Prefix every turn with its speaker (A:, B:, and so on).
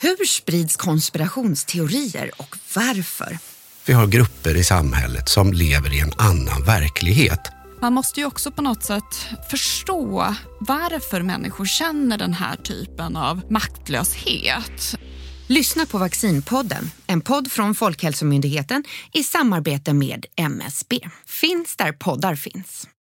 A: Hur sprids konspirationsteorier och varför?
B: Vi har grupper i samhället som lever i en annan verklighet.
C: Man måste ju också på något sätt förstå varför människor känner den här typen av maktlöshet.
A: Lyssna på Vaccinpodden, en podd från Folkhälsomyndigheten i samarbete med MSB. Finns där poddar finns.